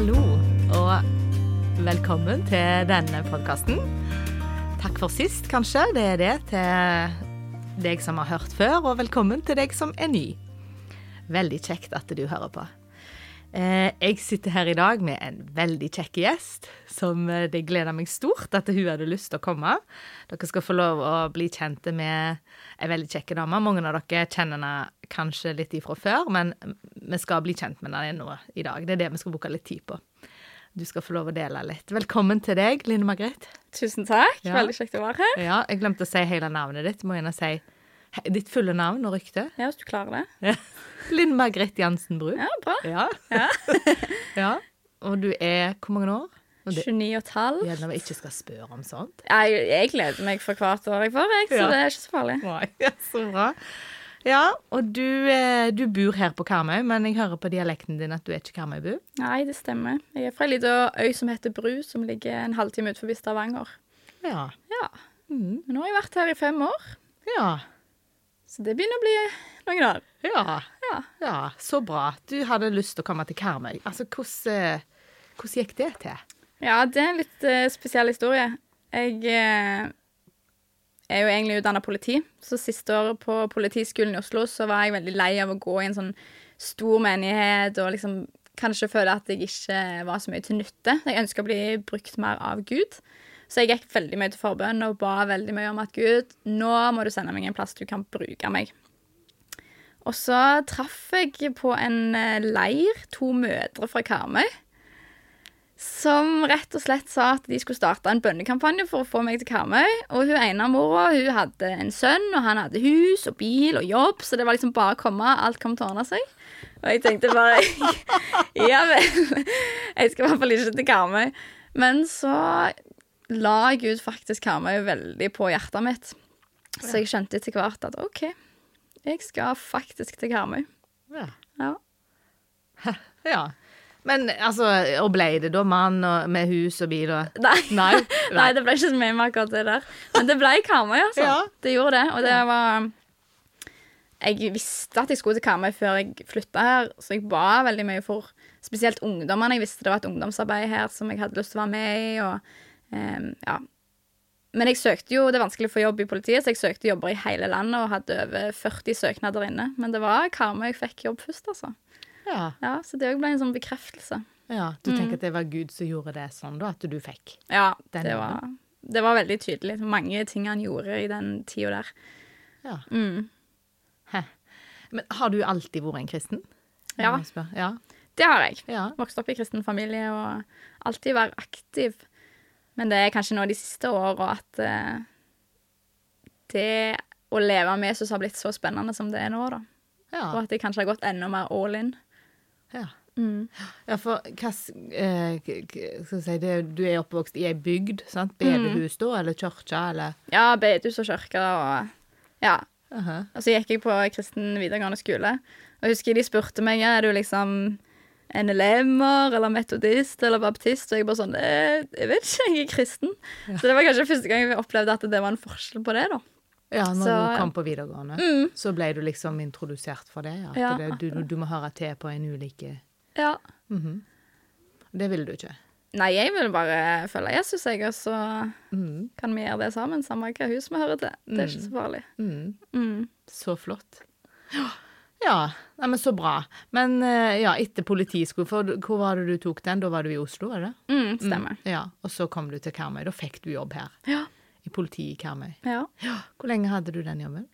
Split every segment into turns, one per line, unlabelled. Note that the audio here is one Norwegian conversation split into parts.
nå, og velkommen til denne podkasten. Takk for sist, kanskje. Det er det til deg som har hørt før, og velkommen til deg som er ny. Veldig kjekt at du hører på. Eh, Jeg sitter her i dag med en veldig kjekk gjest, som eh, det gleder meg stort at hun hadde lyst til å komme. Dere skal få lov å bli kjent med ei veldig kjekk dame. Mange av dere kjenner henne kanskje litt ifra før, men vi skal bli kjent med henne nå i dag. Det er det vi skal bruke litt tid på. Du skal få lov å dele litt. Velkommen til deg, Line Margrethe.
Tusen takk.
Ja.
Veldig kjekt å være her.
Ja, jeg glemte å si hele navnet ditt. Må gjerne si he- ditt fulle navn og rykte.
Ja, Hvis du klarer det.
Linn Margrethe Jansen Bru.
Ja, bra.
Ja.
Ja.
Ja. Og du er hvor mange år? Og det,
29 og et halvt.
gjerne vi ikke skal spørre om sånt.
Jeg, jeg gleder meg for hvert år jeg får, jeg, så
Ja.
det er ikke så farlig.
Nei, ja, så bra. Ja, og du, eh, du bor her på Karmøy, men jeg hører på dialekten din at du er ikke Karmøybu.
Nei, det stemmer. Jeg er fra ei lita øy som heter Bru, som ligger en halvtime utenfor Stavanger.
Ja.
Ja.
Mm.
Men nå har jeg vært her i fem år,
ja.
så det begynner å bli noen år.
Ja.
Ja.
Ja, så bra. Du hadde lyst til å komme til Karmøy. Altså, hvordan, eh, hvordan gikk det til?
Ja, det er en litt eh, spesiell historie. Jeg eh, er jo egentlig utdanna politi, så siste året på Politiskolen i Oslo så var jeg veldig lei av å gå i en sånn stor menighet og liksom kanskje føle at jeg ikke var så mye til nytte. Jeg ønska å bli brukt mer av Gud. Så jeg gikk veldig mye til forbønn og ba veldig mye om at Gud, nå må du sende meg en plass du kan bruke meg. Og så traff jeg på en eh, leir to mødre fra Karmøy som rett og slett sa at de skulle starte en bønnekampanje for å få meg til Karmøy. Og hun ene mora hun hadde en sønn, og han hadde hus og bil og jobb, så det var liksom bare å komme. Alt kom til å ordne seg. Og jeg tenkte bare Ja vel. Jeg skal i hvert fall ikke til Karmøy. Men så la Gud faktisk Karmøy veldig på hjertet mitt. Så jeg skjønte etter hvert at OK, jeg skal faktisk til Karmøy.
Ja.
Ja.
ja. Men altså, og ble det da mann og, med hus og bil og
Nei.
Nei.
Nei, det ble ikke så mye med akkurat det der. Men det ble Karmøy, altså.
Ja.
Det gjorde det. Og det var um, Jeg visste at jeg skulle til Karmøy før jeg flytta her, så jeg ba veldig mye for spesielt ungdommene. Jeg visste det var et ungdomsarbeid her som jeg hadde lyst til å være med i. Og, ehm, ja. Men jeg søkte jo, det er vanskelig å få jobb i politiet, så jeg søkte jobber i hele landet og hadde over 40 søknader inne. Men det var Karmøy jeg fikk jobb først, altså.
Ja.
Ja, så det òg ble en sånn bekreftelse.
Ja, du tenker at det var Gud som gjorde det sånn, da, at du fikk.
Ja,
Den
det var, det var veldig tydelig. Mange ting han gjorde i den tida der.
Ja.
Mm.
Hæ. Men har du alltid vært en kristen?
Ja.
Må jeg spørre. Ja.
Det har jeg.
ja.
Vokste opp i kristen familie og alltid vært aktiv. Men det er kanskje nå de siste åra at eh, det å leve med Jesus har blitt så spennende som det er nå, da. Og
Ja.
at jeg kanskje har gått enda mer all in.
ja.
Mm.
ja for hva s- eh, k- k- skal jeg si, det, du er oppvokst i ei bygd, sant?
Mm.
Bedehus da, eller kirke, eller
Ja, bedehus og kirke og Ja.
Aha.
Og så gikk jeg på kristen videregående skole. Og jeg husker de spurte meg ja, er du liksom NLM-er eller metodist eller baptist. Og jeg bare sånn «Eh, Jeg vet ikke, jeg er kristen. Så det var kanskje første gang jeg opplevde at det var en forskjell på det, da.
Ja, når
Så- Mm.
du kom på videregående, så ble du liksom introdusert for det? At
Ja,
det, du, du må høre til på en ulike Mhm.
Ja.
Det ville du ikke.
Nei, jeg vil bare følge Jesus, jeg, og så
Mhm.
kan vi gjøre det sammen. Samme hva hus vi hører til. Det er ikke så farlig.
Mm.
Mm.
Så flott. Ja, nei, men så bra. Men eh, ja, etter politiskole, for hvor var det du tok den? Da var du i Oslo, var det?
Mm, stemmer.
Ja, og så kom du til Karmøy. Da fikk du jobb her.
Ja.
I politiet i Karmøy.
ja.
Hvor lenge hadde du den jobben?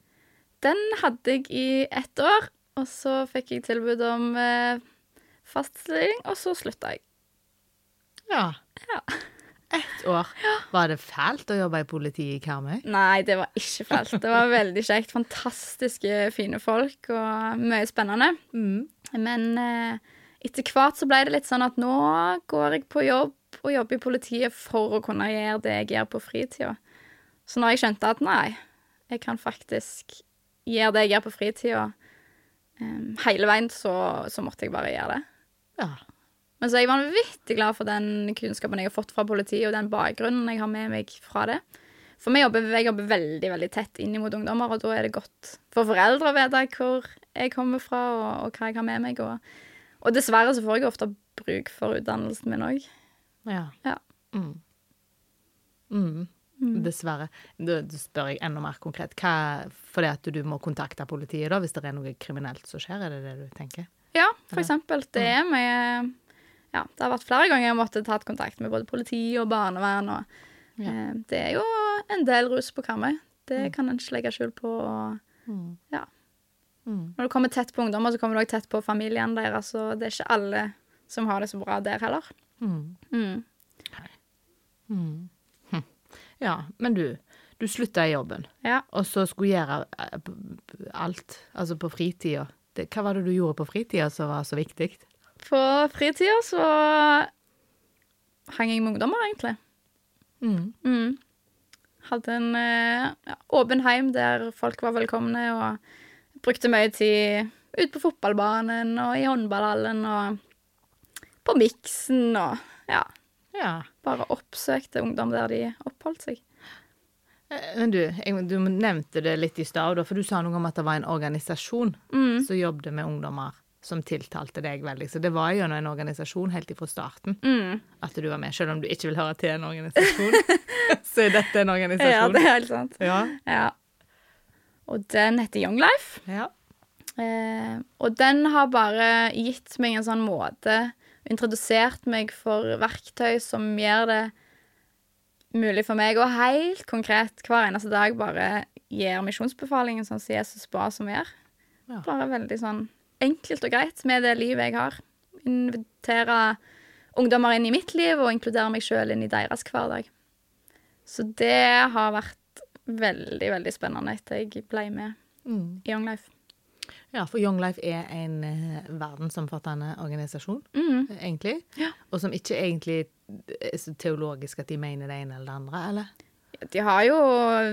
Den hadde jeg i ett år, og så fikk jeg tilbud om eh, faststilling, og så slutta jeg.
Ja.
Ja.
Ett år. Var det fælt å jobbe i politiet i Karmøy?
Nei, det var ikke fælt. Det var veldig kjekt. Fantastiske, fine folk og mye spennende.
Mm.
Men eh, etter hvert så ble det litt sånn at nå går jeg på jobb og jobber i politiet for å kunne gjøre det jeg gjør på fritida. Så når jeg skjønte at nei, jeg kan faktisk gjøre det jeg gjør på fritida eh, hele veien, så, så måtte jeg bare gjøre det.
Ja.
Men så er jeg vanvittig glad for den kunnskapen jeg har fått fra politiet, og den bakgrunnen jeg har med meg fra det. For vi jobber, jeg jobber veldig veldig tett inn mot ungdommer, og da er det godt for foreldre å vite hvor jeg kommer fra, og, og hva jeg har med meg. Og, Og dessverre så får jeg ofte bruk for utdannelsen min òg.
Ja.
Ja.
Mm. Mm. Dessverre. Da da spør jeg enda mer konkret. Hva, fordi at du må kontakte politiet da, hvis det er noe kriminelt som skjer? Er det det du tenker?
Ja, for eksempel. Det er mye Ja, det har vært flere ganger jeg har måttet tatt kontakt med både politi og barnevern. Og,
Ja.
eh, det er jo en del rus på kammer. Det kan en ikke legge skjul på. Og,
Mm.
ja.
Mm.
Når du kommer tett på ungdommer, så kommer du òg tett på familien deres. Og det er ikke alle som har det så bra der heller.
Mm.
Mm.
Mm. Hm. Ja, men du, du slutta i jobben,
Ja.
og så skulle gjøre eh, p- p- alt, altså på fritida. Det, hva var det du gjorde på fritida som var så viktig?
På fritida så hang jeg med ungdommer, egentlig.
Mm.
Mm. Hadde en eh, ja, åpen heim der folk var velkomne, og brukte mye tid ute på fotballbanen og i håndballhallen og på miksen og ja.
Ja.
Bare oppsøkte ungdom der de oppholdt seg.
Eh, Men du, jeg, du nevnte det litt i stad, da, for du sa noe om at det var en organisasjon som jobbet med ungdommer som tiltalte deg veldig. Så det var gjennom en organisasjon helt ifra starten
Mm.
at du var med. Selv om du ikke vil høre til en organisasjon, så er dette en
Ja, det
organisasjon.
er helt sant.
Ja.
Ja. Og den heter Young Life.
Ja.
Eh, og den har bare gitt meg en sånn måte, introdusert meg for verktøy som gjør det mulig for meg, og helt konkret hver eneste dag bare gir misjonsbefalingen sånn som Jesus ba som gjør.
Ja.
Bare veldig sånn enkelt og greit med det livet jeg har. Invitere ungdommer inn i mitt liv og inkludere meg sjøl inn i deres hverdag. Så det har vært veldig, veldig spennende etter jeg ble med
Mm.
i Young Life.
ja, for Young Life er en eh, verdensomfattende organisasjon,
Mm.
eh, egentlig.
Ja.
Og som ikke egentlig er så teologisk at de mener det ene eller det andre, eller?
De har jo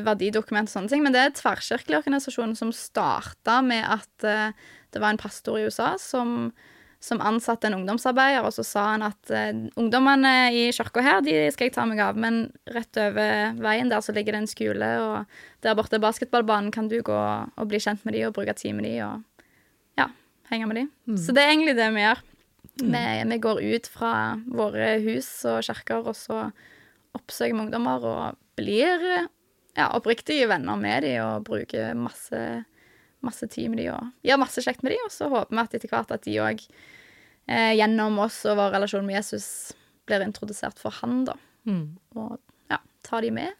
verdidokument og sånne ting, men det er en tverrkirkelig organisasjon som starta med at eh, det var en pastor i USA som, som ansatte en ungdomsarbeider, og så sa han at eh, ungdommene i kirka her, de skal jeg ta meg av, men rett over veien der så ligger det en skole, og der borte er basketballbanen, kan du gå og bli kjent med de og bruke tid med de og ja, henge med de. Så det er egentlig det vi gjør. Vi, vi går ut fra våre hus og kirker, og så oppsøker vi ungdommer og blir ja, oppriktige venner med dem og bruker masse, masse tid med dem og gjør masse kjekt med dem. Og så håper vi at etter hvert at de òg, eh, gjennom oss og vår relasjon med Jesus, blir introdusert for han, da.
Mm.
Og ja, tar de med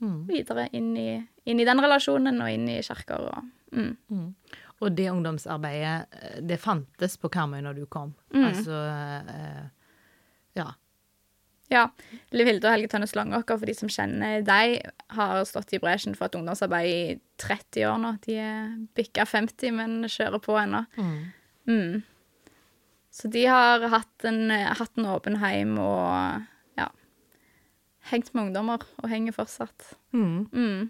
Mm.
videre inn i, inn i den relasjonen og inn i kirker og mm.
Mm. Og det ungdomsarbeidet, eh, det fantes på Karmøy når du kom. Altså eh, Ja.
Ja. Liv Hilde og Helge Tønnes Langåker, for de som kjenner deg, har stått i bresjen for et ungdomsarbeid i 30 år nå. De er bikka 50, men kjører på ennå. Mm. Så de har hatt en, hatt en åpen heim og ja, hengt med ungdommer, og henger fortsatt.
Mm.
Mm.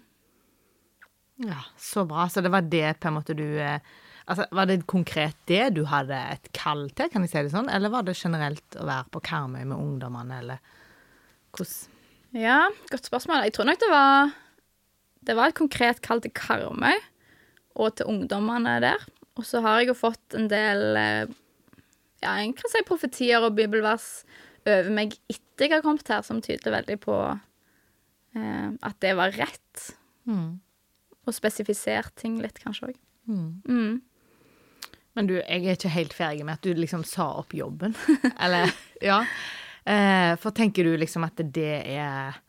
ja. Så bra. Så det var det på en måte du eh, Altså, Var det konkret det du hadde et kall til, kan jeg si det sånn? Eller var det generelt å være på Karmøy med ungdommene, eller hvordan
Ja, godt spørsmål. Jeg tror nok det var Det var et konkret kall til Karmøy og til ungdommene der. Og så har jeg jo fått en del eh, ja, jeg kan si profetier og bibelvers over meg etter jeg har kommet her, som tyder veldig på eh, at det var rett.
Mm.
Og spesifisert ting litt, kanskje òg.
Mm.
Mm.
Men du, jeg er ikke helt ferdig med at du liksom sa opp jobben. Eller, ja. Eh, for tenker du liksom at det er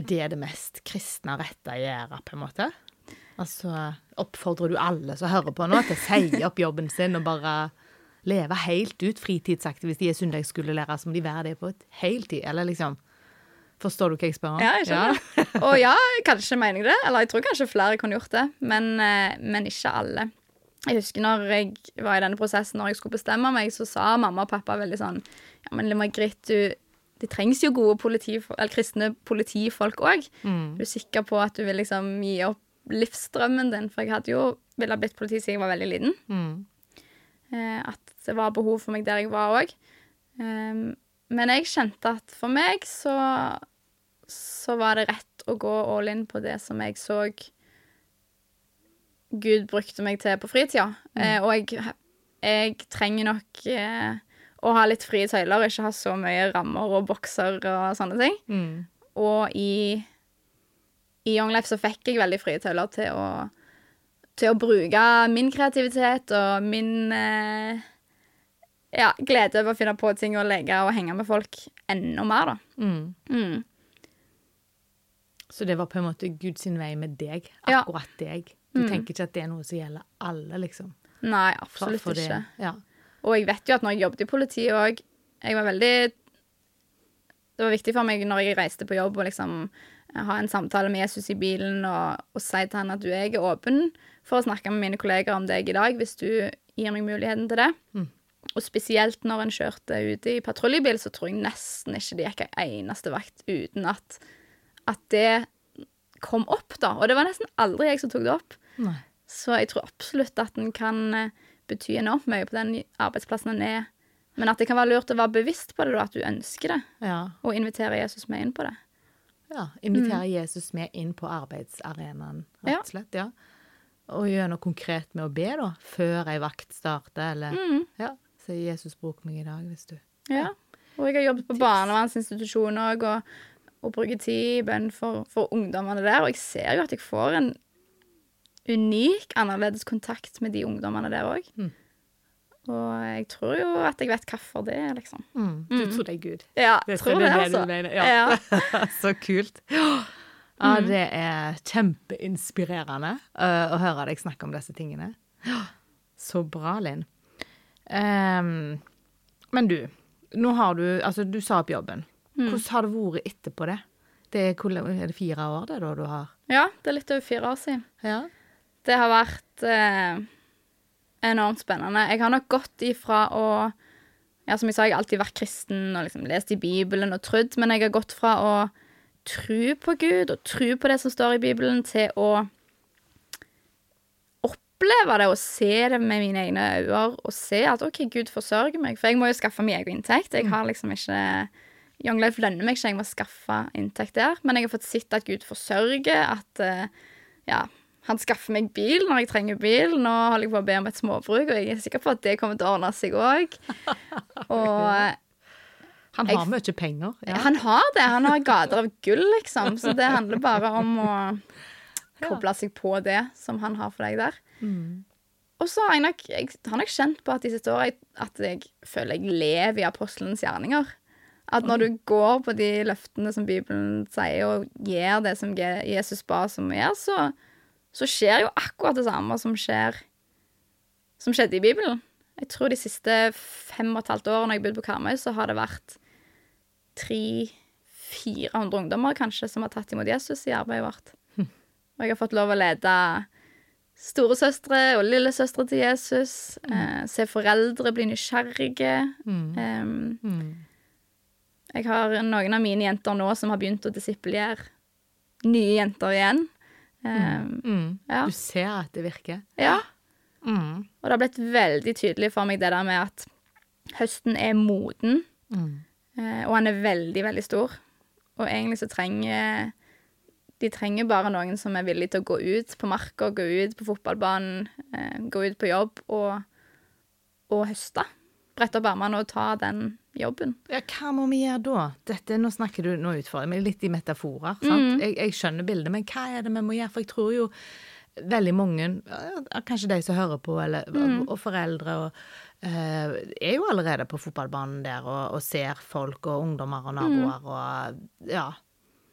det, er det mest kristne og rette å gjøre, på en måte? Altså, oppfordrer du alle som hører på nå til å si opp jobben sin og bare leve helt ut fritidsaktivist de er søndagsskolelærer som de være det på et heltid, eller liksom Forstår du hva jeg spør om?
Ja, jeg skjønner det. Og ja, kanskje mener jeg det. Eller jeg tror kanskje flere kunne gjort det, men, eh, men ikke alle. Jeg husker når jeg var i denne prosessen, når jeg skulle bestemme meg, så sa mamma og pappa veldig sånn Ja, men Margrit, du Det trengs jo gode politifol- eller kristne politifolk òg. Er Du er sikker på at du vil liksom gi opp livsdrømmen din? For jeg hadde jo ville ha blitt politi siden jeg var veldig liten.
Ja. Mm.
Eh, at det var behov for meg der jeg var òg. Ehm, men jeg kjente at for meg så, så var det rett å gå all in på det som jeg så Gud brukte meg til på fritida. Eh, og jeg, Jeg trenger nok eh, å ha litt frie tøyler, og ikke ha så mye rammer og bokser og sånne ting.
Mm.
Og i, i Young Life så fikk jeg veldig frie tøyler til å, til å bruke min kreativitet og min eh, ja, glede over å finne på ting og leke og henge med folk enda mer, da.
Mm.
Mm.
Så det var på en måte Guds vei med deg,
Ja. Mm.
akkurat deg. Du tenker ikke at det er noe som gjelder alle, liksom.
Nei,
For-
absolutt
for det-
ikke.
Ja.
Og jeg vet jo at når jeg jobbet i politiet òg Jeg var veldig Det var viktig for meg når jeg reiste på jobb, å liksom ha en samtale med Jesus i bilen og, og si til han at du jeg er åpen for å snakke med mine kolleger om deg i dag, hvis du gir meg muligheten til det. Og spesielt når en kjørte ute i patruljebil, så tror jeg nesten ikke det gikk ei eneste vakt uten at, at det kom opp, da. Og det var nesten aldri jeg som tok det opp.
Nei.
Så jeg tror absolutt at den kan eh, bety enormt mye på den arbeidsplassen den er. Men at det kan være lurt å være bevisst på det, da, at du ønsker det,
Ja.
og invitere Jesus med inn på det.
ja. Invitere Jesus med inn på arbeidsarenaen, rett
Mm. Ja.
og slett. Ja. Og gjøre noe konkret med å be, da, før ei vakt starter, eller
Mm.
ja. Si 'Jesus, bruk meg i dag', hvis du
Ja. Og jeg har jobbet på barnevernsinstitusjon òg, og, og bruker tid i bønn for, for ungdommene der. Og jeg ser jo at jeg får en unik, annerledes kontakt med de ungdommene der òg.
Mm.
Og jeg tror jo at jeg vet hvorfor det er, liksom.
mm. Du tror det er Gud.
Ja,
Det
tror
er
det,
det du
altså.
mener, ja. Så kult. Ja, det er kjempeinspirerende eh, å høre deg snakke om disse tingene. Så bra, Linn. Ehm, men du, nå har du Altså, du sa opp jobben. Hvordan har det vært etterpå det? det er, hvor lang- er det fire år det da du har
ja, det er litt over fire år siden.
Ja.
Det har vært eh, enormt spennende. Jeg har nok gått ifra å Ja, som jeg sa, jeg har alltid vært kristen og liksom lest i Bibelen og trodd, men jeg har gått fra å tro på Gud og tro på det som står i Bibelen, til å oppleve det og se det med mine egne øyne og se at OK, Gud forsørger meg, for jeg må jo skaffe min egen inntekt. Jeg har liksom ikke Young Life lønner meg ikke, jeg må skaffe inntekt der, men jeg har fått sett at Gud forsørger, at eh, ja, han skaffer meg bil når jeg trenger bil. Nå holder jeg på å be om et småbruk, og jeg er sikker på at det kommer til å ordne seg òg. Og
Han
Jeg-
har mye penger. Ja.
han har det. Han har gater av gull, liksom. Så det handler bare om å koble seg på det som han har for deg der. Og så har jeg nok, jeg har nok kjent på at de siste årene at jeg føler jeg lever i apostelens gjerninger. At når du går på de løftene som Bibelen sier, og gjør det som Je- Jesus ba som å gjøre, så, så skjer jo akkurat det samme som skjer som skjedde i Bibelen. Jeg tror de siste fem og et halvt årene jeg har bodd på Karmøy, så har det vært 300-400 ungdommer kanskje som har tatt imot Jesus i arbeidet vårt. Og jeg har fått lov å lede storesøstre og lillesøstre til Jesus. Eh, se foreldre bli nysgjerrige.
Mm.
Em,
Mm.
jeg har noen av mine jenter nå som har begynt å disippelgjøre nye jenter igjen. Em,
Mm.
Ja.
Du ser at det virker.
ja.
Mm.
Og det har blitt veldig tydelig for meg det der med at høsten er moden,
Mm.
eh, og han er veldig, veldig stor. Og egentlig så trenger de trenger bare noen som er villig til å gå ut på marka, gå ut på fotballbanen, eh, gå ut på jobb og, og høste. Brette opp armene og ta den jobben.
Ja, hva må vi gjøre da? Dette, nå snakker du, nå utfordrer jeg meg litt i metaforer. Sant? Jeg, jeg skjønner bildet, men hva er det vi må gjøre? For jeg tror jo veldig mange, eh, kanskje de som hører på, eller, og foreldre, og, eh, er jo allerede på fotballbanen der og, og ser folk og ungdommer og naboer og ja,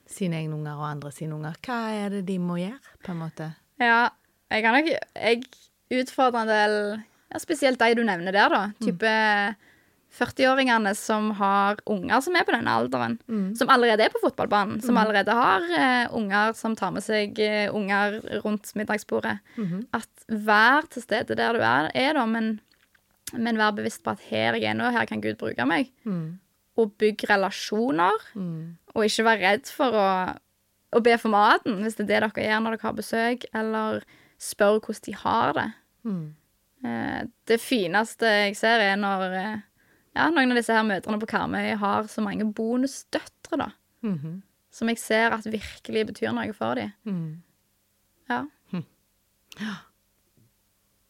sine egne unger og andre sine unger. Hva er det de må gjøre, på en måte?
Ja, jeg kan nok Jeg utfordrer en del ja, Spesielt de du nevner der, da. Type 40-åringene som har unger som er på denne alderen. Som allerede er på fotballbanen. Som allerede har eh, unger som tar med seg eh, unger rundt middagsbordet. At vær til stede der du er, er da, men, men vær bevisst på at her jeg er nå, her kan Gud bruke meg.
Mm,
Og bygg relasjoner. Og ikke vær redd for å, å be for maten, hvis det er det dere gjør når dere har besøk, eller spør hvordan de har det.
Mm.
Eh, Det fineste jeg ser, er når eh, ja, noen av disse her mødrene på Karmøy har så mange bonusdøtre, da,
Mhm.
som jeg ser at virkelig betyr noe for dem.
mm.
Ja.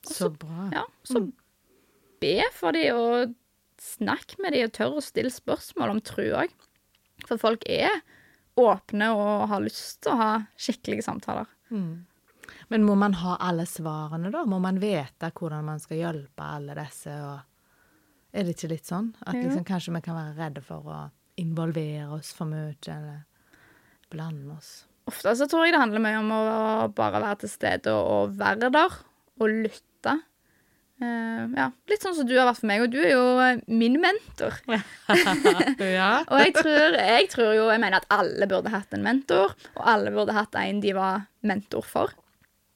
Så bra.
ja. Så be for dem og snakke med dem og tørre å stille spørsmål om tro òg. For folk er åpne og har lyst til å ha skikkelige samtaler.
Mm. Men må man ha alle svarene, da? Må man vite hvordan man skal hjelpe alle disse? Og er det ikke litt sånn? At
Jo.
liksom, kanskje vi kan være redde for å involvere oss for mye, eller blande oss?
Ofte så tror jeg det handler mye om å bare være til stede og være der, og lytte. Eh, ja, litt sånn som du har vært for meg, og du er jo eh, min mentor.
ja.
Og jeg tror, jeg tror jo, jeg mener at alle burde hatt en mentor, og alle burde hatt en de var mentor for.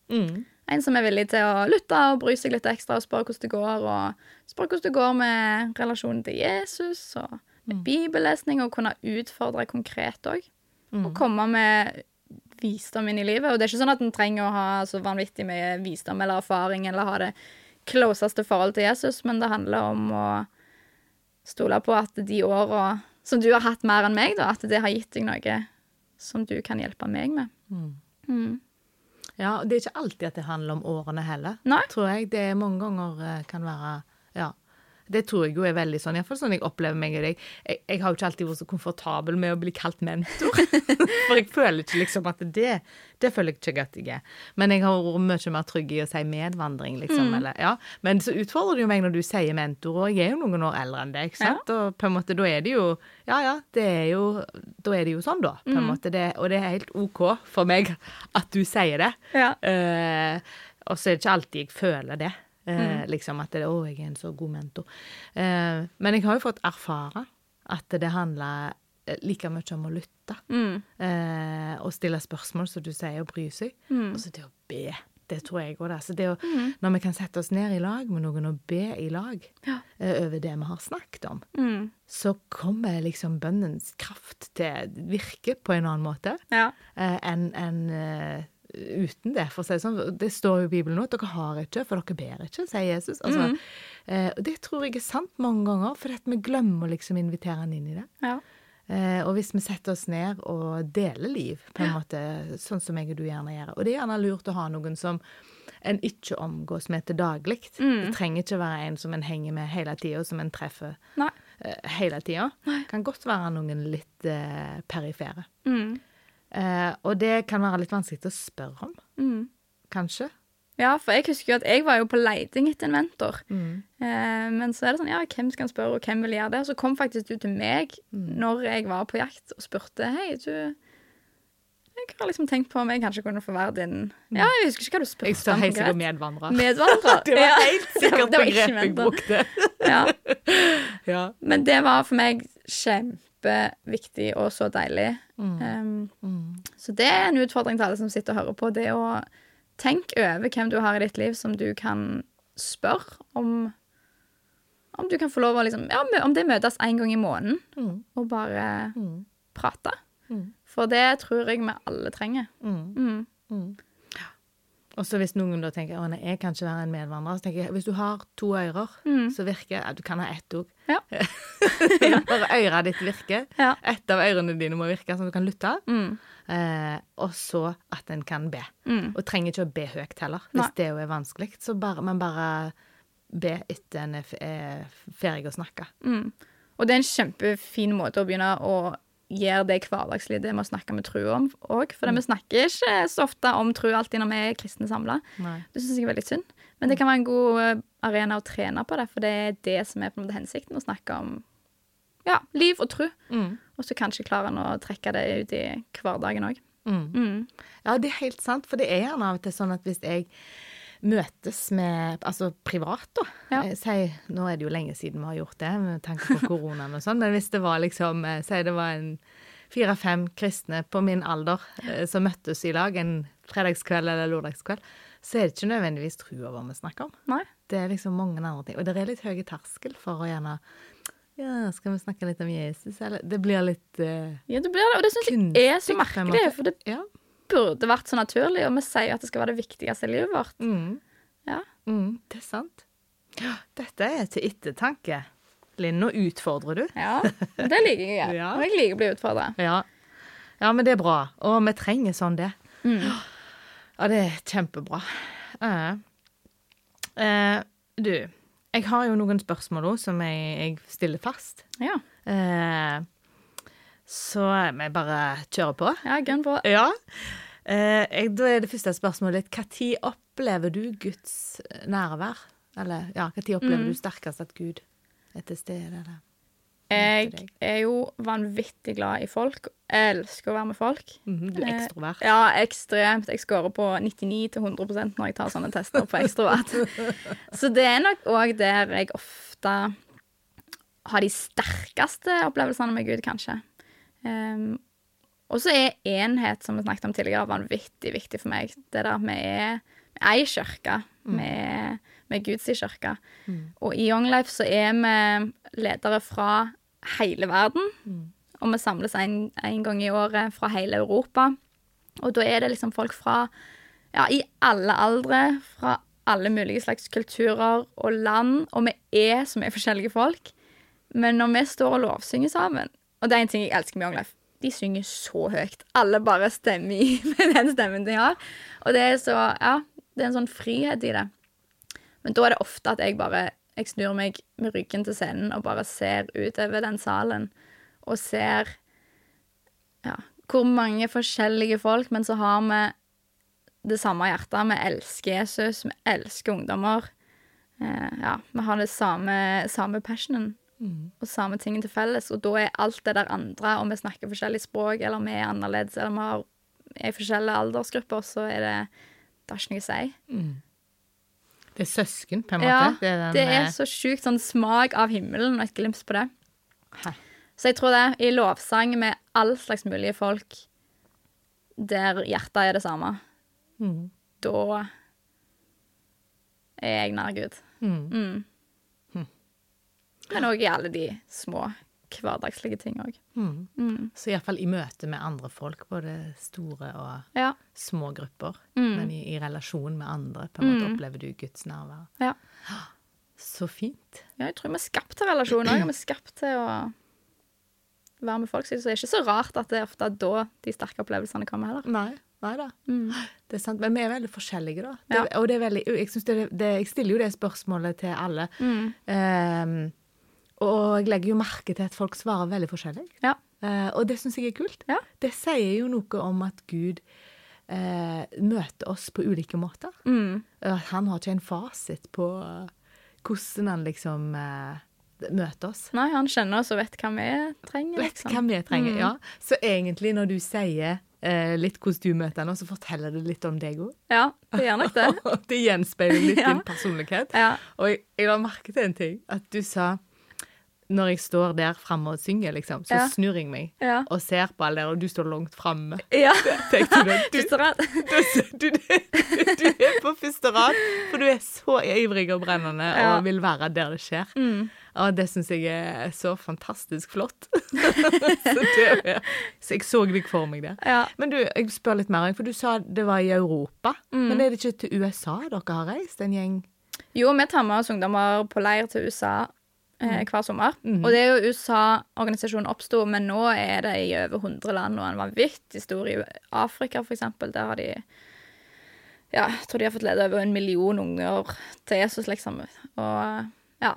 Mm.
En som er villig til å lytte og bry seg litt ekstra og spørre hvordan det går, og spørre hvordan det går med relasjonen til Jesus, og med bibellesning, og kunne utfordre konkret òg å komme med visdom inn i livet. Og det er ikke sånn at en trenger å ha så vanvittig mye visdom eller erfaring eller ha det closeste forhold til Jesus, men det handler om å stole på at de åra som du har hatt mer enn meg, da, at det har gitt deg noe som du kan hjelpe meg med. Mm.
Ja, og det er ikke alltid at det handler om årene heller,
Nei.
tror jeg. Det er mange ganger eh, kan være Ja. Det tror jeg jo er veldig sånn, iallfall sånn jeg opplever meg og deg. Jeg, jeg har jo ikke alltid vært så komfortabel med å bli kalt mentor. For jeg føler ikke liksom at det Det føler jeg ikke at jeg er. Men jeg har vært mye mer trygg i å si medvandring, liksom. Eller, ja. Men så utfordrer det jo meg når du sier mentor, og jeg er jo noen år eldre enn deg, ikke sant. Og på en måte da er det jo Ja ja, det er jo Da er det jo sånn, da. På en måte. Det, og det er helt OK for meg at du sier det.
Ja.
Eh, og så er det ikke alltid jeg føler det. eh, Liksom at det, 'Å, jeg er en så god mentor'. Eh, men jeg har jo fått erfare at det handler eh, like mye om å lytte.
Mm.
eh, og stille spørsmål, som du sier, og bry seg. Og så det å be. Det tror jeg òg. Altså det å- når vi kan sette oss ned i lag med noen og be i lag
Ja.
eh, over det vi har snakket om,
Mm.
så kommer liksom bønnens kraft til virke på en annen måte
Ja.
eh, enn enn, eh, uten det. For å si det sånn, det står jo i Bibelen nå at dere har ikke, for dere ber ikke, sier Jesus. Altså, eh, og det tror jeg er sant mange ganger, for at vi glemmer å liksom invitere han inn i det.
Ja.
Eh, og hvis vi setter oss ned og deler liv, på en måte, sånn som jeg og du gjerne gjør. Og det er gjerne lurt å ha noen som en ikke omgås med til daglig. Det trenger ikke være en som en henger med hele tida, som en treffer
Nei.
eh, hele tida. Kan godt være noen litt eh, perifere.
Mm.
Eh, og det kan være litt vanskelig å spørre om,
Mm.
kanskje.
Ja, for jeg husker jo at jeg var jo på leiting etter en mentor.
Mm.
Eh, men så er det sånn, ja, hvem skal en spørre, og hvem vil gjøre det? Og så kom faktisk du til meg
Mm.
når jeg var på jakt, og spurte, hei, du, jeg har liksom tenkt på om jeg kanskje kunne få være din. Ja, jeg husker ikke hva du
Mm. Jeg
spurte.
står
om
helt sikkert
konkret.
medvandrer.
Medvandrer.
Det var
Ja.
helt sikkert
Det var ikke
begrep jeg
mentor.
brukte.
Ja.
Ja.
Men det var for meg kjempeviktig og så deilig.
Mm.
Um, Så det er en utfordring til alle som sitter og hører på. Det å tenke over hvem du har i ditt liv som du kan spørre om Om du kan få lov å liksom ja, mø- Om det møtes én gang i måneden,
Mm.
og bare
Mm.
prate.
Mm.
For det tror jeg vi alle trenger.
Mm.
Mm.
Og så hvis noen da tenker at jeg kan ikke være en medvandrer, så tenker jeg hvis du har to ører, så virker Mm. ja, Du kan ha ett òg.
Ja.
Bare øret ditt virker.
Ja.
Ett av ørene dine må virke, sånn at du kan lytte.
Mm.
Eh, og så at en kan be.
Mm.
Og trenger ikke å be høyt heller, hvis
Nei.
det jo er vanskelig. Så bare, man bare be etter en er f- er ferdig å snakke.
Mm. Og det er en kjempefin måte å begynne å gjøre det hverdagslige, det med å snakke med tru om òg. For
Mm.
vi snakker ikke så ofte om tru alltid når vi er kristne samla.
Nei.
Det syns jeg er veldig synd. Men
Mm.
det kan være en god eh, arena å trene på det, for det er det som er på en måte hensikten, å snakke om ja, liv og tru.
Mm.
Og så kanskje klarer en å trekke det ut i hverdagen òg.
Mm.
Mm.
Ja, det er helt sant, for det er gjerne av og til sånn at hvis jeg møtes med Altså privat, da.
Ja.
Eh, Si, nå er det jo lenge siden vi har gjort det, med tanke på koronaen og sånn, men hvis det var liksom eh, Si det var en fire-fem kristne på min alder eh, som møttes i lag en fredagskveld eller lørdagskveld, så er det ikke nødvendigvis trua vår vi snakker om.
Nei.
Det er liksom mange andre ting. Og det er litt høy terskel for å gjerne Ja, skal vi snakke litt om Jesus, eller Det blir litt eh,
Ja, det blir det. Og det syns jeg er
kunstig
så
på en
merkelig,
måte.
for det
Ja.
burde vært så naturlig, og vi sier at det skal være det viktigste i livet vårt.
Mm.
Ja.
Mm, det er sant. Ja, Dette er til ettertanke. Linn, nå utfordrer du.
Ja, men det liker jeg.
Ja.
Og jeg liker å bli utfordra.
Ja. ja, men det er bra. Og vi trenger sånn det.
Mm.
Ja, det er kjempebra. Eh, eh, du, Jeg har jo noen spørsmål òg som jeg, jeg stiller fast.
Ja,
Eh, så vi bare kjører på.
ja gun på.
Ja. Eh, jeg, da er det første spørsmålet Når opplever du Guds eh, nærvær? Eller ja, når opplever du sterkest at Gud er til stede? Eller?
Jeg er jo vanvittig glad i folk. Elsker å være med folk.
Mhm, du er ekstrovert.
Eh, Ja, ekstremt. Jeg scorer på 99-100 når jeg tar sånne tester på ekstrovert. Så det er nok òg der jeg ofte har de sterkeste opplevelsene med Gud, kanskje. Ehm, og så er enhet, som vi snakket om tidligere, vanvittig viktig for meg. Det der at vi er vi er ei kirke. Vi er vi er Guds kirke. Og i Young Life så er vi ledere fra hele verden. Og vi samles en, en gang i året fra hele Europa. Og da er det liksom folk fra ja, i alle aldre, fra alle mulige slags kulturer og land. Og vi er som er forskjellige folk. Men når vi står og lovsynger sammen Og det er en ting jeg elsker med Young Life. De synger så høyt. Alle bare stemmer i med den stemmen de har. Og det er så Ja, det er en sånn frihet i det. Men da er det ofte at jeg bare jeg snur meg med ryggen til scenen og bare ser utover den salen og ser ja, hvor mange forskjellige folk, men så har vi det samme hjertet. Vi elsker Jesus, vi elsker ungdommer. Eh, ja, vi har det samme, samme passionen
Mm,
og samme tingen til felles, og da er alt det der andre, om vi snakker forskjellig språk, eller vi er annerledes, eller vi har, er i forskjellige aldersgrupper, så er det, det har ikke noe å si.
Det er søsken, på en måte.
Ja,
mm. det er den, eh,
så sjukt sånn smak av himmelen og et glimt på det.
Hæ.
Så jeg tror det, i lovsang med all slags mulige folk, der hjertet er det samme,
Mm.
da er jeg nær Gud.
Mm.
Mm. Men òg i alle de små hverdagslige ting òg.
Mm.
Mm.
Så iallfall i møte med andre folk, både store og
Ja.
små grupper.
Mm.
Men i, i relasjon med andre, på en måte, opplever du Guds nærvær.
ja.
Så fint.
Ja, jeg tror vi er skapt til relasjoner. og Vi er skapt til å være med folk. Så det er ikke så rart at det er ofte da de sterke opplevelsene kommer heller.
Nei. Nei da.
Mm.
Det er sant. Men vi er veldig forskjellige, da. Det,
Ja.
Og det er veldig, jeg, synes det, det, jeg stiller jo det spørsmålet til alle.
Mm.
Ehm, og jeg legger jo merke til at folk svarer veldig forskjellig.
Ja.
Eh, og det syns jeg er kult.
Ja.
Det sier jo noe om at Gud eh, møter oss på ulike måter.
Mm.
At han har ikke en fasit på eh, hvordan han liksom eh, møter oss.
Nei, han kjenner oss og vet hva vi trenger. liksom.
Vet hva vi trenger.
Mm.
Ja. Så egentlig, når du sier eh, litt hvordan du møter han, så forteller det litt om deg òg.
Ja, det gjør nok det.
det gjenspeiler litt
Ja.
din personlighet.
Ja.
Og jeg, jeg la merke til en ting. At du sa Når jeg står der framme og synger, liksom, så
Ja.
snur jeg meg
Ja.
og ser på alle der, og du står langt framme.
ja.
Tenkte du, det? du,
Synes
du, du,
du det?
du, du er på første rad, for du er så ivrig og brennende
Ja.
og vil være der det skjer.
Mm.
Og det syns jeg er så fantastisk flott. så, det, er- så jeg så deg for meg der.
Ja.
Men du, jeg spør litt mer, for du sa det var i Europa.
Mm.
Men er det ikke til USA dere har reist, en gjeng?
Jo, vi tar med oss ungdommer på leir til USA eh, hver sommer. Og det er jo USA-organisasjonen oppsto, men nå er det i over 100 land, og en vanvittig stor i Afrika, for eksempel. Der har de Ja, jeg tror de har fått lede over en million unger til Jesus, liksom. Og ja.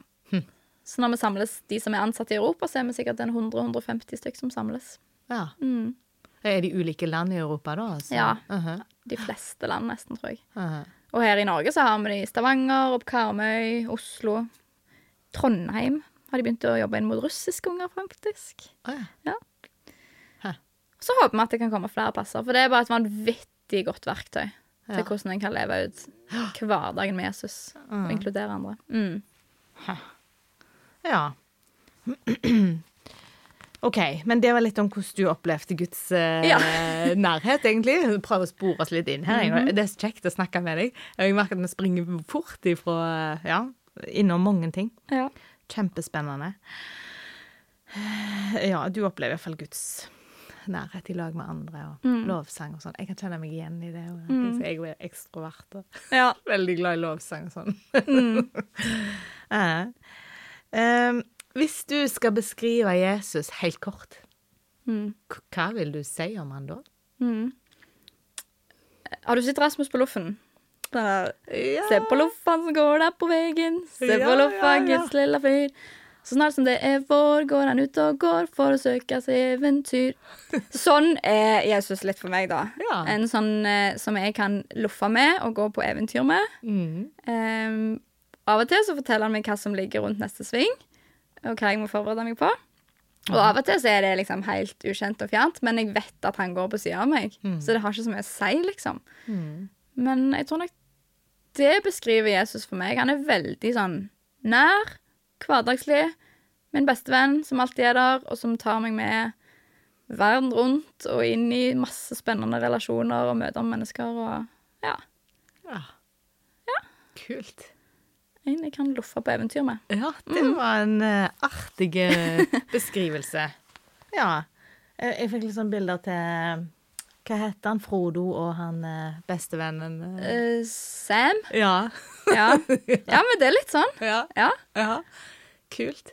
Så når vi samles, de som er ansatte i Europa, så er vi sikkert en 100-150 stykk som samles.
Ja.
Mm.
Er de ulike land i Europa da? altså?
Ja.
Aha,
De fleste land, nesten, tror jeg.
aha.
Og her i Norge så har vi det i Stavanger, opp Karmøy, Oslo. Trondheim har de begynt å jobbe inn mot russiske unger, faktisk.
Å, ja.
Så håper vi at det kan komme flere plasser, for det er bare et vanvittig godt verktøy
Ja.
til hvordan en kan leve ut hverdagen med Jesus og inkludere andre. Mm.
ja. OK, men det var litt om hvordan du opplevde Guds eh,
Ja.
nærhet, egentlig. Prøv å spore oss litt inn her. jeg.
Mhm.
Det er så kjekt å snakke med deg. Jeg merker at vi springer fort ifra eh, Ja, innom mange ting.
Ja.
Kjempespennende. Eh, Ja, du opplever iallfall Guds nærhet i lag med andre, og lovsang og sånn. Jeg kan kjenne meg igjen i det. Og, Jeg er ekstrovert og
Ja.
veldig glad i lovsang og sånn. Eh, eh, hvis du skal beskrive Jesus helt kort,
Mm.
k- hva vil du si om han da?
Mm. Har du sett Rasmus på Loffen? Den der
Ja.
Se på loffen som går der på veggen, se
Ah. Ja,
på
ja,
loffen,
ja.
Guds lilla fyr. Så snart som det er vår, går han ut og går for å søke seg eventyr. Sånn er Jesus litt for meg, da.
Ja.
En sånn eh, som jeg kan loffe med og gå på eventyr med.
Mm.
Ehm, av og til så forteller han meg hva som ligger rundt neste sving, og hva jeg må forberede meg på. Og av og til så er det liksom helt ukjent og fjernt, men jeg vet at han går på sida av meg. Så det har ikke så mye å si, liksom.
Mm.
Men jeg tror nok det beskriver Jesus for meg. Han er veldig sånn nær, hverdagslig. Min beste venn som alltid er der, og som tar meg med verden rundt og inn i masse spennende relasjoner og møter mennesker og ja.
Ja. Kult.
En jeg kan loffe på eventyr med.
Ja, det var en eh, artig eh, beskrivelse. Ja. Jeg, jeg fikk litt sånn bilder til Hva heter han? Frodo og han eh, bestevennen eh.
Eh, Sam?
Ja.
Ja. ja, men det er litt sånn.
ja.
Ja.
Ja. Kult.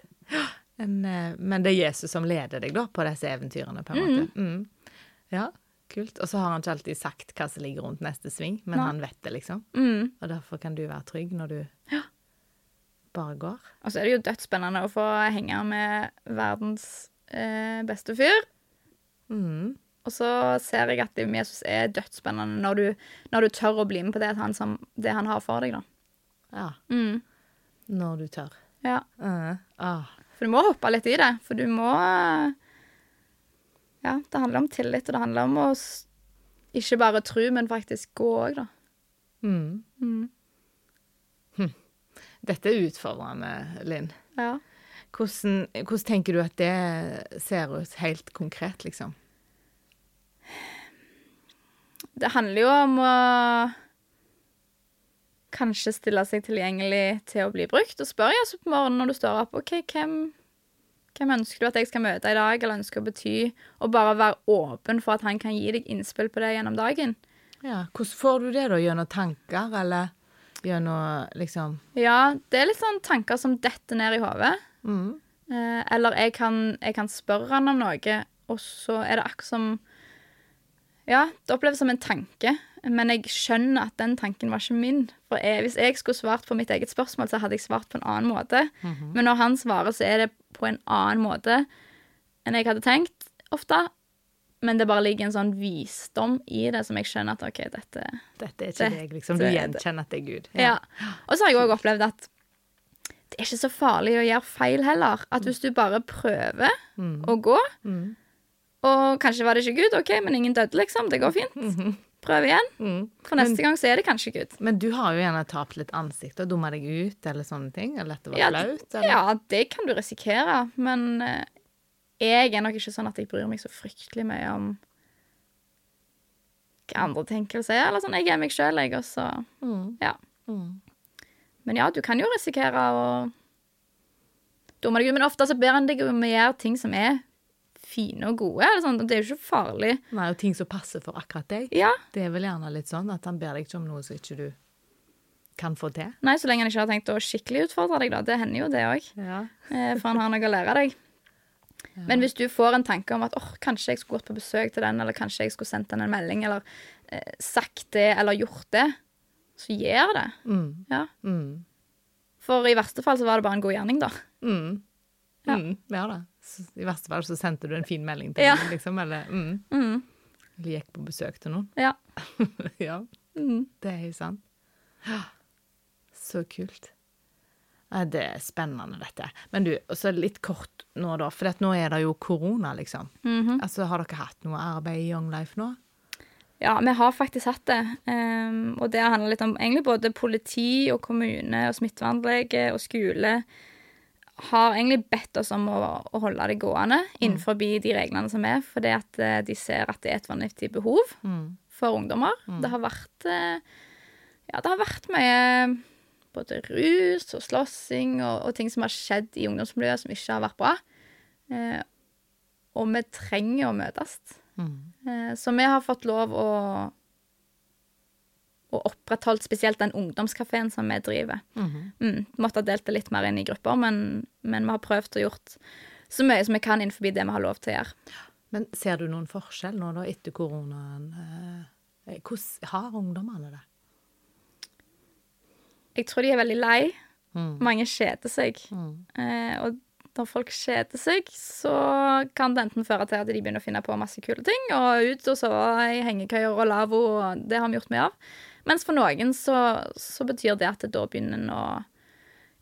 En, eh, men det er Jesus som leder deg da, på disse eventyrene, på en måte. Mm. Ja, kult. Og så har han ikke alltid sagt hva som ligger rundt neste sving, men
Nei.
han vet det, liksom.
Mm.
Og derfor kan du være trygg når du bare går.
Og så er det jo dødsspennende å få henge med verdens eh, beste fyr.
Mm.
Og så ser jeg at det med Jesus er dødsspennende når du, når du tør å bli med på det han, som, det han har for deg, da.
Ja.
Mm.
Når du tør.
Ja.
Eh, ah.
For du må hoppe litt i det. For du må Ja, det handler om tillit, og det handler om å s- ikke bare tro, men faktisk gå òg, da.
Mm. Hm.
Mm.
Dette er utfordrende, Linn.
Ja.
Hvordan, hvordan tenker du at det ser ut helt konkret, liksom?
Det handler jo om å kanskje stille seg tilgjengelig til å bli brukt. Og spør Jesus på morgenen når du står opp, OK, hvem, hvem ønsker du at jeg skal møte i dag, eller ønsker å bety? Og bare være åpen for at han kan gi deg innspill på det gjennom dagen.
Ja, Hvordan får du det, da? Gjennom tanker, eller gjennom liksom
Ja, det er litt sånn tanker som detter ned i hodet.
mm.
Eh, eller jeg kan, jeg kan spørre han om noe, og så er det akkurat som Ja, det oppleves som en tanke, men jeg skjønner at den tanken var ikke min. For jeg, hvis jeg skulle svart på mitt eget spørsmål, så hadde jeg svart på en annen måte. Men når han svarer, så er det på en annen måte enn jeg hadde tenkt ofte. Men det bare ligger en sånn visdom i det som jeg skjønner at OK, dette
Dette er ikke
Det-
deg, liksom. Du
det-
gjenkjenner at det er Gud.
ja. Og så har jeg òg opplevd at det er ikke så farlig å gjøre feil heller. At hvis du bare prøver å gå,
Mm.
og kanskje var det ikke Gud, OK, men ingen døde, liksom. Det går fint. Prøv igjen.
Mm.
For neste gang så er det kanskje Gud.
Men du har jo gjerne tapt litt ansikt og dumma deg ut eller sånne ting. Eller at det var
Ja,
flaut. Eller?
Ja, det kan du risikere, men eh, jeg er nok ikke sånn at jeg bryr meg så fryktelig mye om hva andre tenker eller sier. Eller sånn. Jeg er meg sjøl, jeg, og så
Mm.
Ja.
Mm.
Men ja, du kan jo risikere å dumme deg ut. Men ofte så ber han deg om å gjøre ting som er fine og gode. Eller sånn. og Det er jo ikke farlig.
Nei, og ting som passer for akkurat deg.
Ja.
Det er vel gjerne litt sånn at han ber deg ikke om noe som ikke du kan få til.
Nei, så lenge han ikke har tenkt å skikkelig utfordre deg, da. Det hender jo, det òg.
Ja.
For han har noe å lære deg. Men hvis du får en tanke om at åh, kanskje jeg skulle gått på besøk til den, eller kanskje jeg skulle sendt den en melding, eller eh, sagt det, eller gjort det, så gjør det.
Mm.
Ja.
Mm.
For i verste fall så var det bare en god gjerning, da.
Mm.
Ja.
Mm. Ja da. Så, I verste fall så sendte du en fin melding til
Ja.
noen, liksom. Eller, mm.
Mm.
eller gikk på besøk til noen.
Ja.
ja,
Mm.
det er jo sant. Så kult. Ja, det er spennende, dette. Men du, og så litt kort nå, da. For at nå er det jo korona, liksom.
Mhm.
Altså, Har dere hatt noe arbeid i Young Life nå?
Ja, vi har faktisk hatt det. Ehm, og det handler litt om egentlig både politi og kommune og smittevernlege og skole har egentlig bedt oss om å, å holde det gående innenfor de reglene som er, fordi at eh, de ser at det er et vanvittig behov
Mm.
for ungdommer. Det har vært eh, Ja, det har vært mye ehm, både rus og slåssing og, og ting som har skjedd i ungdomsmiljøet som ikke har vært bra. Eh, og vi trenger å møtes.
Mm.
Eh, Så vi har fått lov å, å opprettholde spesielt den ungdomskafeen som vi driver.
Mhm.
Mm, måtte ha delt det litt mer inn i grupper, men, men vi har prøvd og gjort så mye som vi kan innenfor det vi har lov til å gjøre.
Men ser du noen forskjell nå, da, etter koronaen? Eh, Hvordan har ungdommene det?
Jeg tror de er veldig lei.
Mm.
Mange kjeder seg.
Mm.
Eh, og når folk kjeder seg, så kan det enten føre til at de begynner å finne på masse kule ting, og ut og sove i hengekøyer og lavvo, og det har vi gjort mye av. Mens for noen så, så betyr det at da begynner en å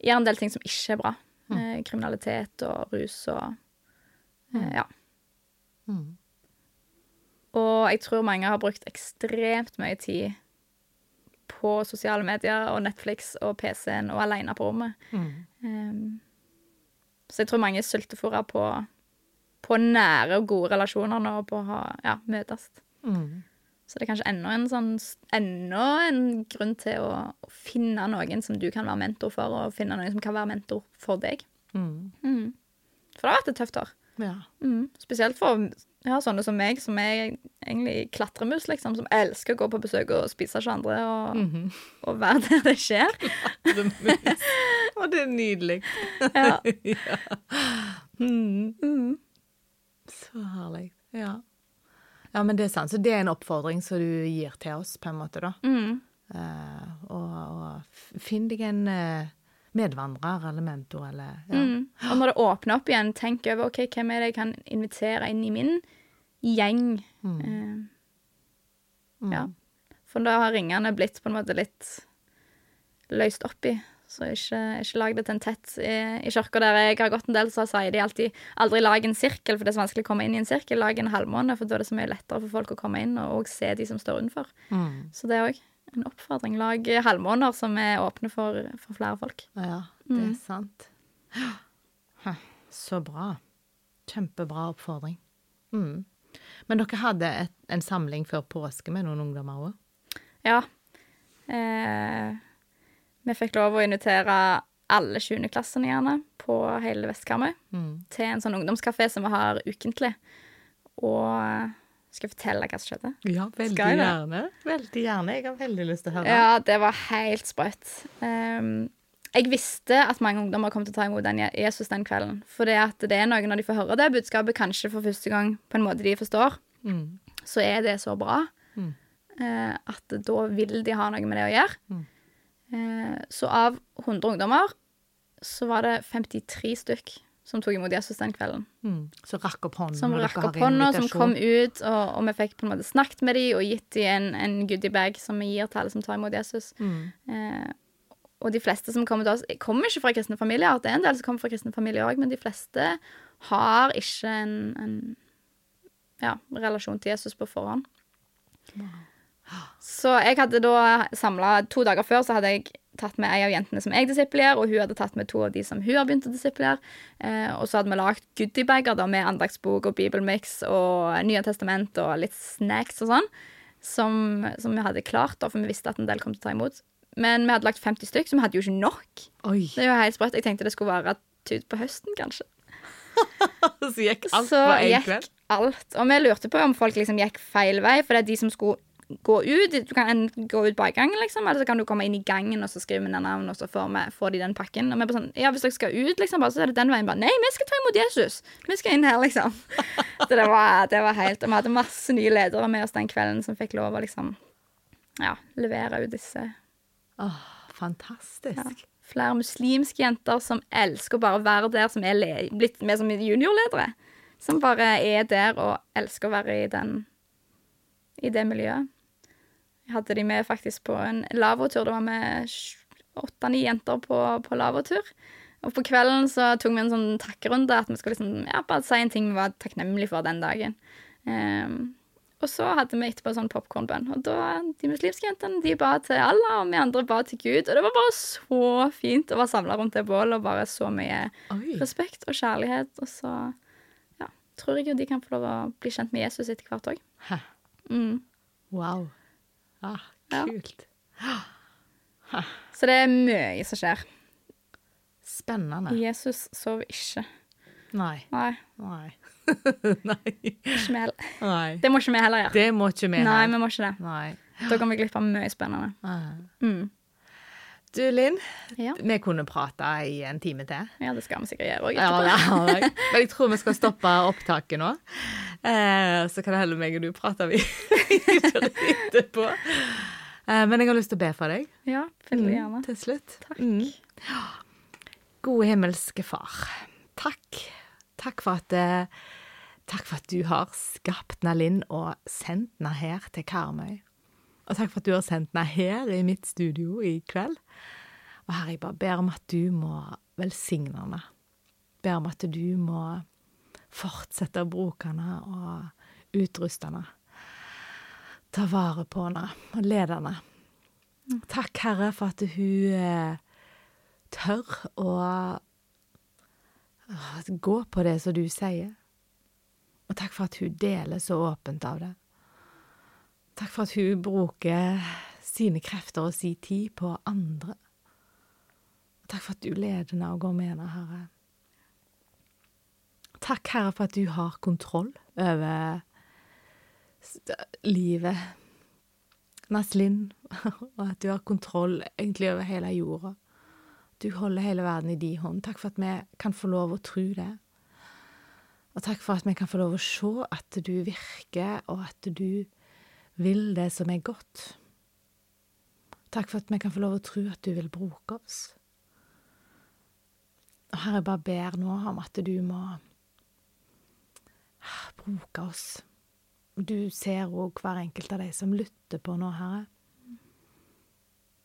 gjøre en del ting som ikke er bra. Eh, kriminalitet og rus og eh, ja.
Mm.
Og jeg tror mange har brukt ekstremt mye tid på sosiale medier og Netflix og PC-en og aleine på rommet.
Mm.
Ehm, så jeg tror mange er sultefòra på, på nære og gode relasjoner nå, og på å ha, ja, møtes.
Mm.
Så det er kanskje enda en, sånn, enda en grunn til å, å finne noen som du kan være mentor for, og finne noen som kan være mentor for deg.
Mm.
For det har vært et tøft år.
Ja.
Mm. Spesielt for ja, sånne som meg, som er egentlig klatremus, liksom, som elsker å gå på besøk og spise hos andre og, og være der det skjer.
Og det er nydelig.
Ja.
ja. Mm.
Mm.
Så herlig. Ja. ja, men det er sant. Så det er en oppfordring som du gir til oss, på en måte, da.
Mm.
Eh, og, og f- finn deg en eh, medvandrer eller mentor eller ja.
Mm. Og når det åpner opp igjen, tenk over ok, hvem er det jeg kan invitere inn i min gjeng. Eh, ja. For da har ringene blitt på en måte litt løst opp i. Så ikke, ikke lag det til en tett. I, i kirka der jeg har gått en del, så sier de alltid aldri lag en sirkel, for det er så vanskelig å komme inn i en sirkel. Lag en halvmåne, for da er det så mye lettere for folk å komme inn og, og se de som står utenfor.
Mm.
Så det er òg en oppfordring. Lag halvmåner som er åpne for, for flere folk.
ja. Det
Mm.
er sant. Hæ, Så bra. Kjempebra oppfordring. Mm. Men dere hadde et, en samling før påske med noen ungdommer òg?
Ja. Eh, vi fikk lov å invitere alle 20. klassene gjerne på hele Vestkarmøy
Mm.
til en sånn ungdomskafé som vi har ukentlig. Og eh, skal jeg fortelle hva som skjedde?
Ja, veldig
Skal jeg det?
gjerne. Veldig gjerne. Jeg har veldig lyst til å høre.
Ja, det var helt sprøtt. Ehm, jeg visste at mange ungdommer kom til å ta imot den Je- Jesus den kvelden. For det at det er noen når de får høre det budskapet, kanskje for første gang på en måte de forstår,
Mm.
så er det så bra
Mm.
eh, at da vil de ha noe med det å gjøre.
Mm.
Eh, så av 100 ungdommer så var det 53 stykk som tok imot Jesus den kvelden.
Mm. Så rakk opp hånden.
Som
når dere
rakk
har
opp hånda, som
invitasjon.
kom ut, og, og vi fikk på en måte snakket med dem og gitt dem en, en goodiebag som vi gir til alle som tar imot Jesus.
Mm.
Eh, og de fleste som kommer til oss, kommer ikke fra kristne familier. Det er en del som kommer fra kristne familier òg, men de fleste har ikke en, en ja, relasjon til Jesus på forhånd. Så jeg hadde da samla To dager før så hadde jeg tatt med ei av jentene som jeg disipler, og hun hadde tatt med to av de som hun har begynt å disiplere. Eh, og så hadde vi lagd goodiebager da, med andagsbok og bibelmiks og Nye testament og litt snacks og sånn, som, som vi hadde klart, da, for vi visste at en del kom til å ta imot. Men vi hadde lagt 50 stykk, så vi hadde jo ikke nok.
Oi,
Det er jo helt sprøtt. Jeg tenkte det skulle være ut på høsten, kanskje
så gikk alt
så
på en
gikk
kveld.
alt. Og vi lurte på om folk liksom gikk feil vei, for det er de som skulle gå ut. Du kan enten gå ut bakgangen, liksom, eller så kan du komme inn i gangen, og så skriver vi ned navn, og så får, vi, får de den pakken. Og vi er bare sånn, ja, hvis dere skal ut, liksom, bare, så er det den veien. Bare, nei, vi skal ta imot Jesus! Vi skal inn her, liksom. Så det var, det var helt, og vi hadde masse nye ledere med oss den kvelden som fikk lov å liksom, ja, levere ut disse
Åh, fantastisk.
flere muslimske jenter som elsker å bare være der, som er le blitt med som juniorledere. Som bare er der og elsker å være i, den, i det miljøet. Jeg hadde de med faktisk på en lavotur. Det var med sj- åtte-ni jenter på, på lavotur. Og på kvelden så tok vi en sånn takkerunde, at vi skulle liksom, ja, bare si en ting vi var takknemlige for den dagen. Ehm, og så hadde vi etterpå sånn popkornbønn. Og da, de muslimske jentene de ba til Allah, og vi andre ba til Gud. Og det var bare så fint å være samla rundt det bålet, og bare så mye
Oi.
respekt og kjærlighet. Og så ja, tror jeg jo de kan få lov å bli kjent med Jesus etter hvert òg.
Hæ.
Mm.
Wow. Ah,
Ja.
kult.
Så det er mye som skjer.
Spennende.
Jesus sover ikke.
Nei.
Nei,
Nei. Nei.
ikke vi heller.
Nei.
Det må ikke vi heller gjøre.
Det må ikke vi
Nei,
ha.
vi må ikke det.
Nei.
Da kan vi glipp av mye spennende.
Ah.
Mm.
Du, Linn.
Ja.
Vi kunne prata i en time til.
ja, det skal vi sikkert gjøre òg.
Ja, det har jeg. Men jeg tror vi skal stoppe opptaket nå. Eh, så kan det hende meg og du prater vi etterpå. Eh, Men jeg har lyst til å be for deg Mm,
Ja, veldig gjerne.
til slutt.
Takk.
Mm. Gode himmelske far, takk. Takk for at eh, Takk for at du har skapt Nalin og sendt henne her til Karmøy. Og takk for at du har sendt henne her i mitt studio i kveld. Og herre, jeg bare ber om at du må velsigne henne. Ber om at du må fortsette å bruke henne og utruste henne. Ta vare på henne og lede henne. Takk, Herre, for at hun eh, tør å å gå på det som du sier. Og takk for at hun deler så åpent av det. Takk for at hun bruker sine krefter og sin tid på andre. Og takk for at du leder henne og går med henne, Herre. Takk, Herre, for at du har kontroll over s- livet Naslin, og at du har kontroll egentlig over hele jorda. Du holder hele verden i din hånd. Takk for at vi kan få lov å tro det. Og takk for at vi kan få lov å se at du virker, og at du vil det som er godt. Takk for at vi kan få lov å tro at du vil bruke oss. Og Herre, jeg bare ber nå om at du må ah, bruke oss. Du ser òg hver enkelt av de som lytter på nå, Herre.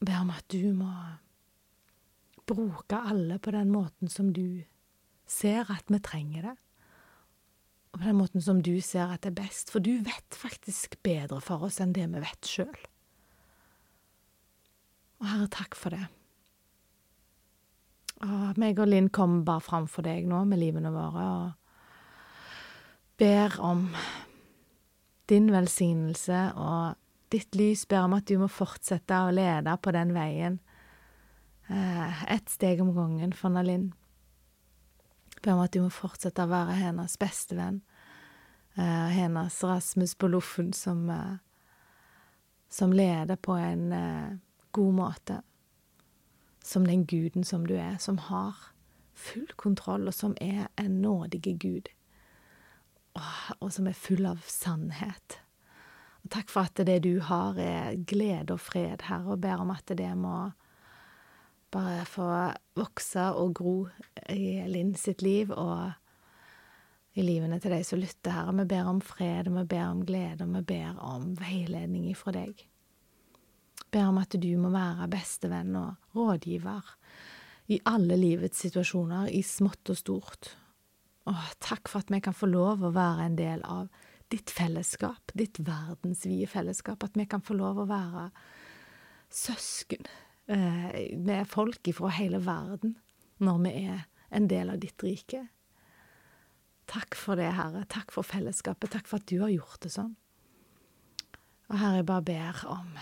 Ber om at du må bruke alle på den måten som du ser at vi trenger det. Og på den måten som du ser at det er best. For du vet faktisk bedre for oss enn det vi vet sjøl. Og Herre, takk for det. Og meg og Linn kommer bare fram for deg nå med livene våre og ber om din velsignelse og ditt lys ber om at du må fortsette å lede på den veien. Eh, ett steg om gangen for Nalin. Ber om at du må fortsette å være hennes bestevenn. Eh, hennes Rasmus på loffen som, eh, som leder på en eh, god måte. Som den guden som du er, som har full kontroll, og som er en nådige gud og som er full av sannhet. Og takk for at det du har, er glede og fred, Herre, og ber om at det må bare få vokse og gro i Linn sitt liv og i livene til de som lytter, Herre. Vi ber om fred, og vi ber om glede, og vi ber om veiledning ifra deg. Ber om at du må være bestevenn og rådgiver i alle livets situasjoner, i smått og stort. Åh, takk for at vi kan få lov å være en del av ditt fellesskap, ditt verdensvide fellesskap. At vi kan få lov å være søsken eh, med folk fra hele verden når vi er en del av ditt rike. Takk for det, Herre. Takk for fellesskapet. Takk for at du har gjort det sånn. Og Herre, jeg bare ber om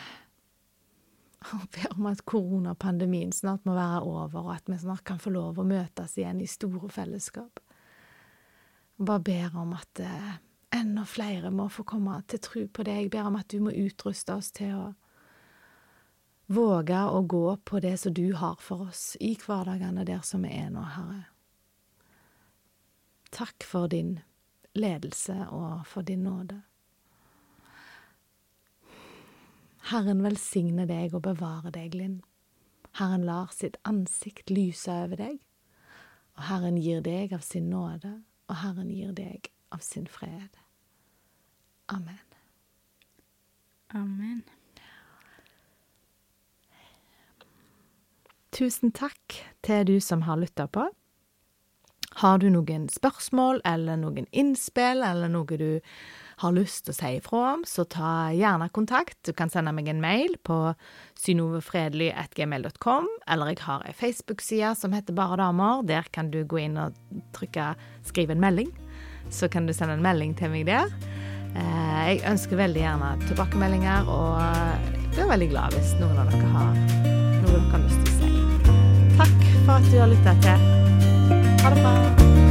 jeg ber om at koronapandemien snart må være over, og at vi snart kan få lov å møtes igjen i store fellesskap. Og bare ber om at eh, enda flere må få komme til tro på deg. Jeg ber om at du må utruste oss til å våge å gå på det som du har for oss i hverdagene der som vi er nå, Herre. Takk for din ledelse og for din nåde. Herren velsigne deg og bevare deg, Linn. Herren lar sitt ansikt lyse over deg, og Herren gir deg av sin nåde, og Herren gir deg av sin fred. Amen.
Amen.
Tusen takk til du som har lytta på. Har du noen spørsmål eller noen innspill eller noe du har lyst til å si ifra om, så ta gjerne kontakt. Du kan sende meg en mail på synovefredelig.gmail.com, eller jeg har ei Facebook-side som heter Bare damer. Der kan du gå inn og trykke 'skriv en melding', så kan du sende en melding til meg der. Eh, Jeg ønsker veldig gjerne tilbakemeldinger, og blir veldig glad hvis noen av dere har noe dere har lyst til å si. Takk for at du har lytta til. Ha det bra.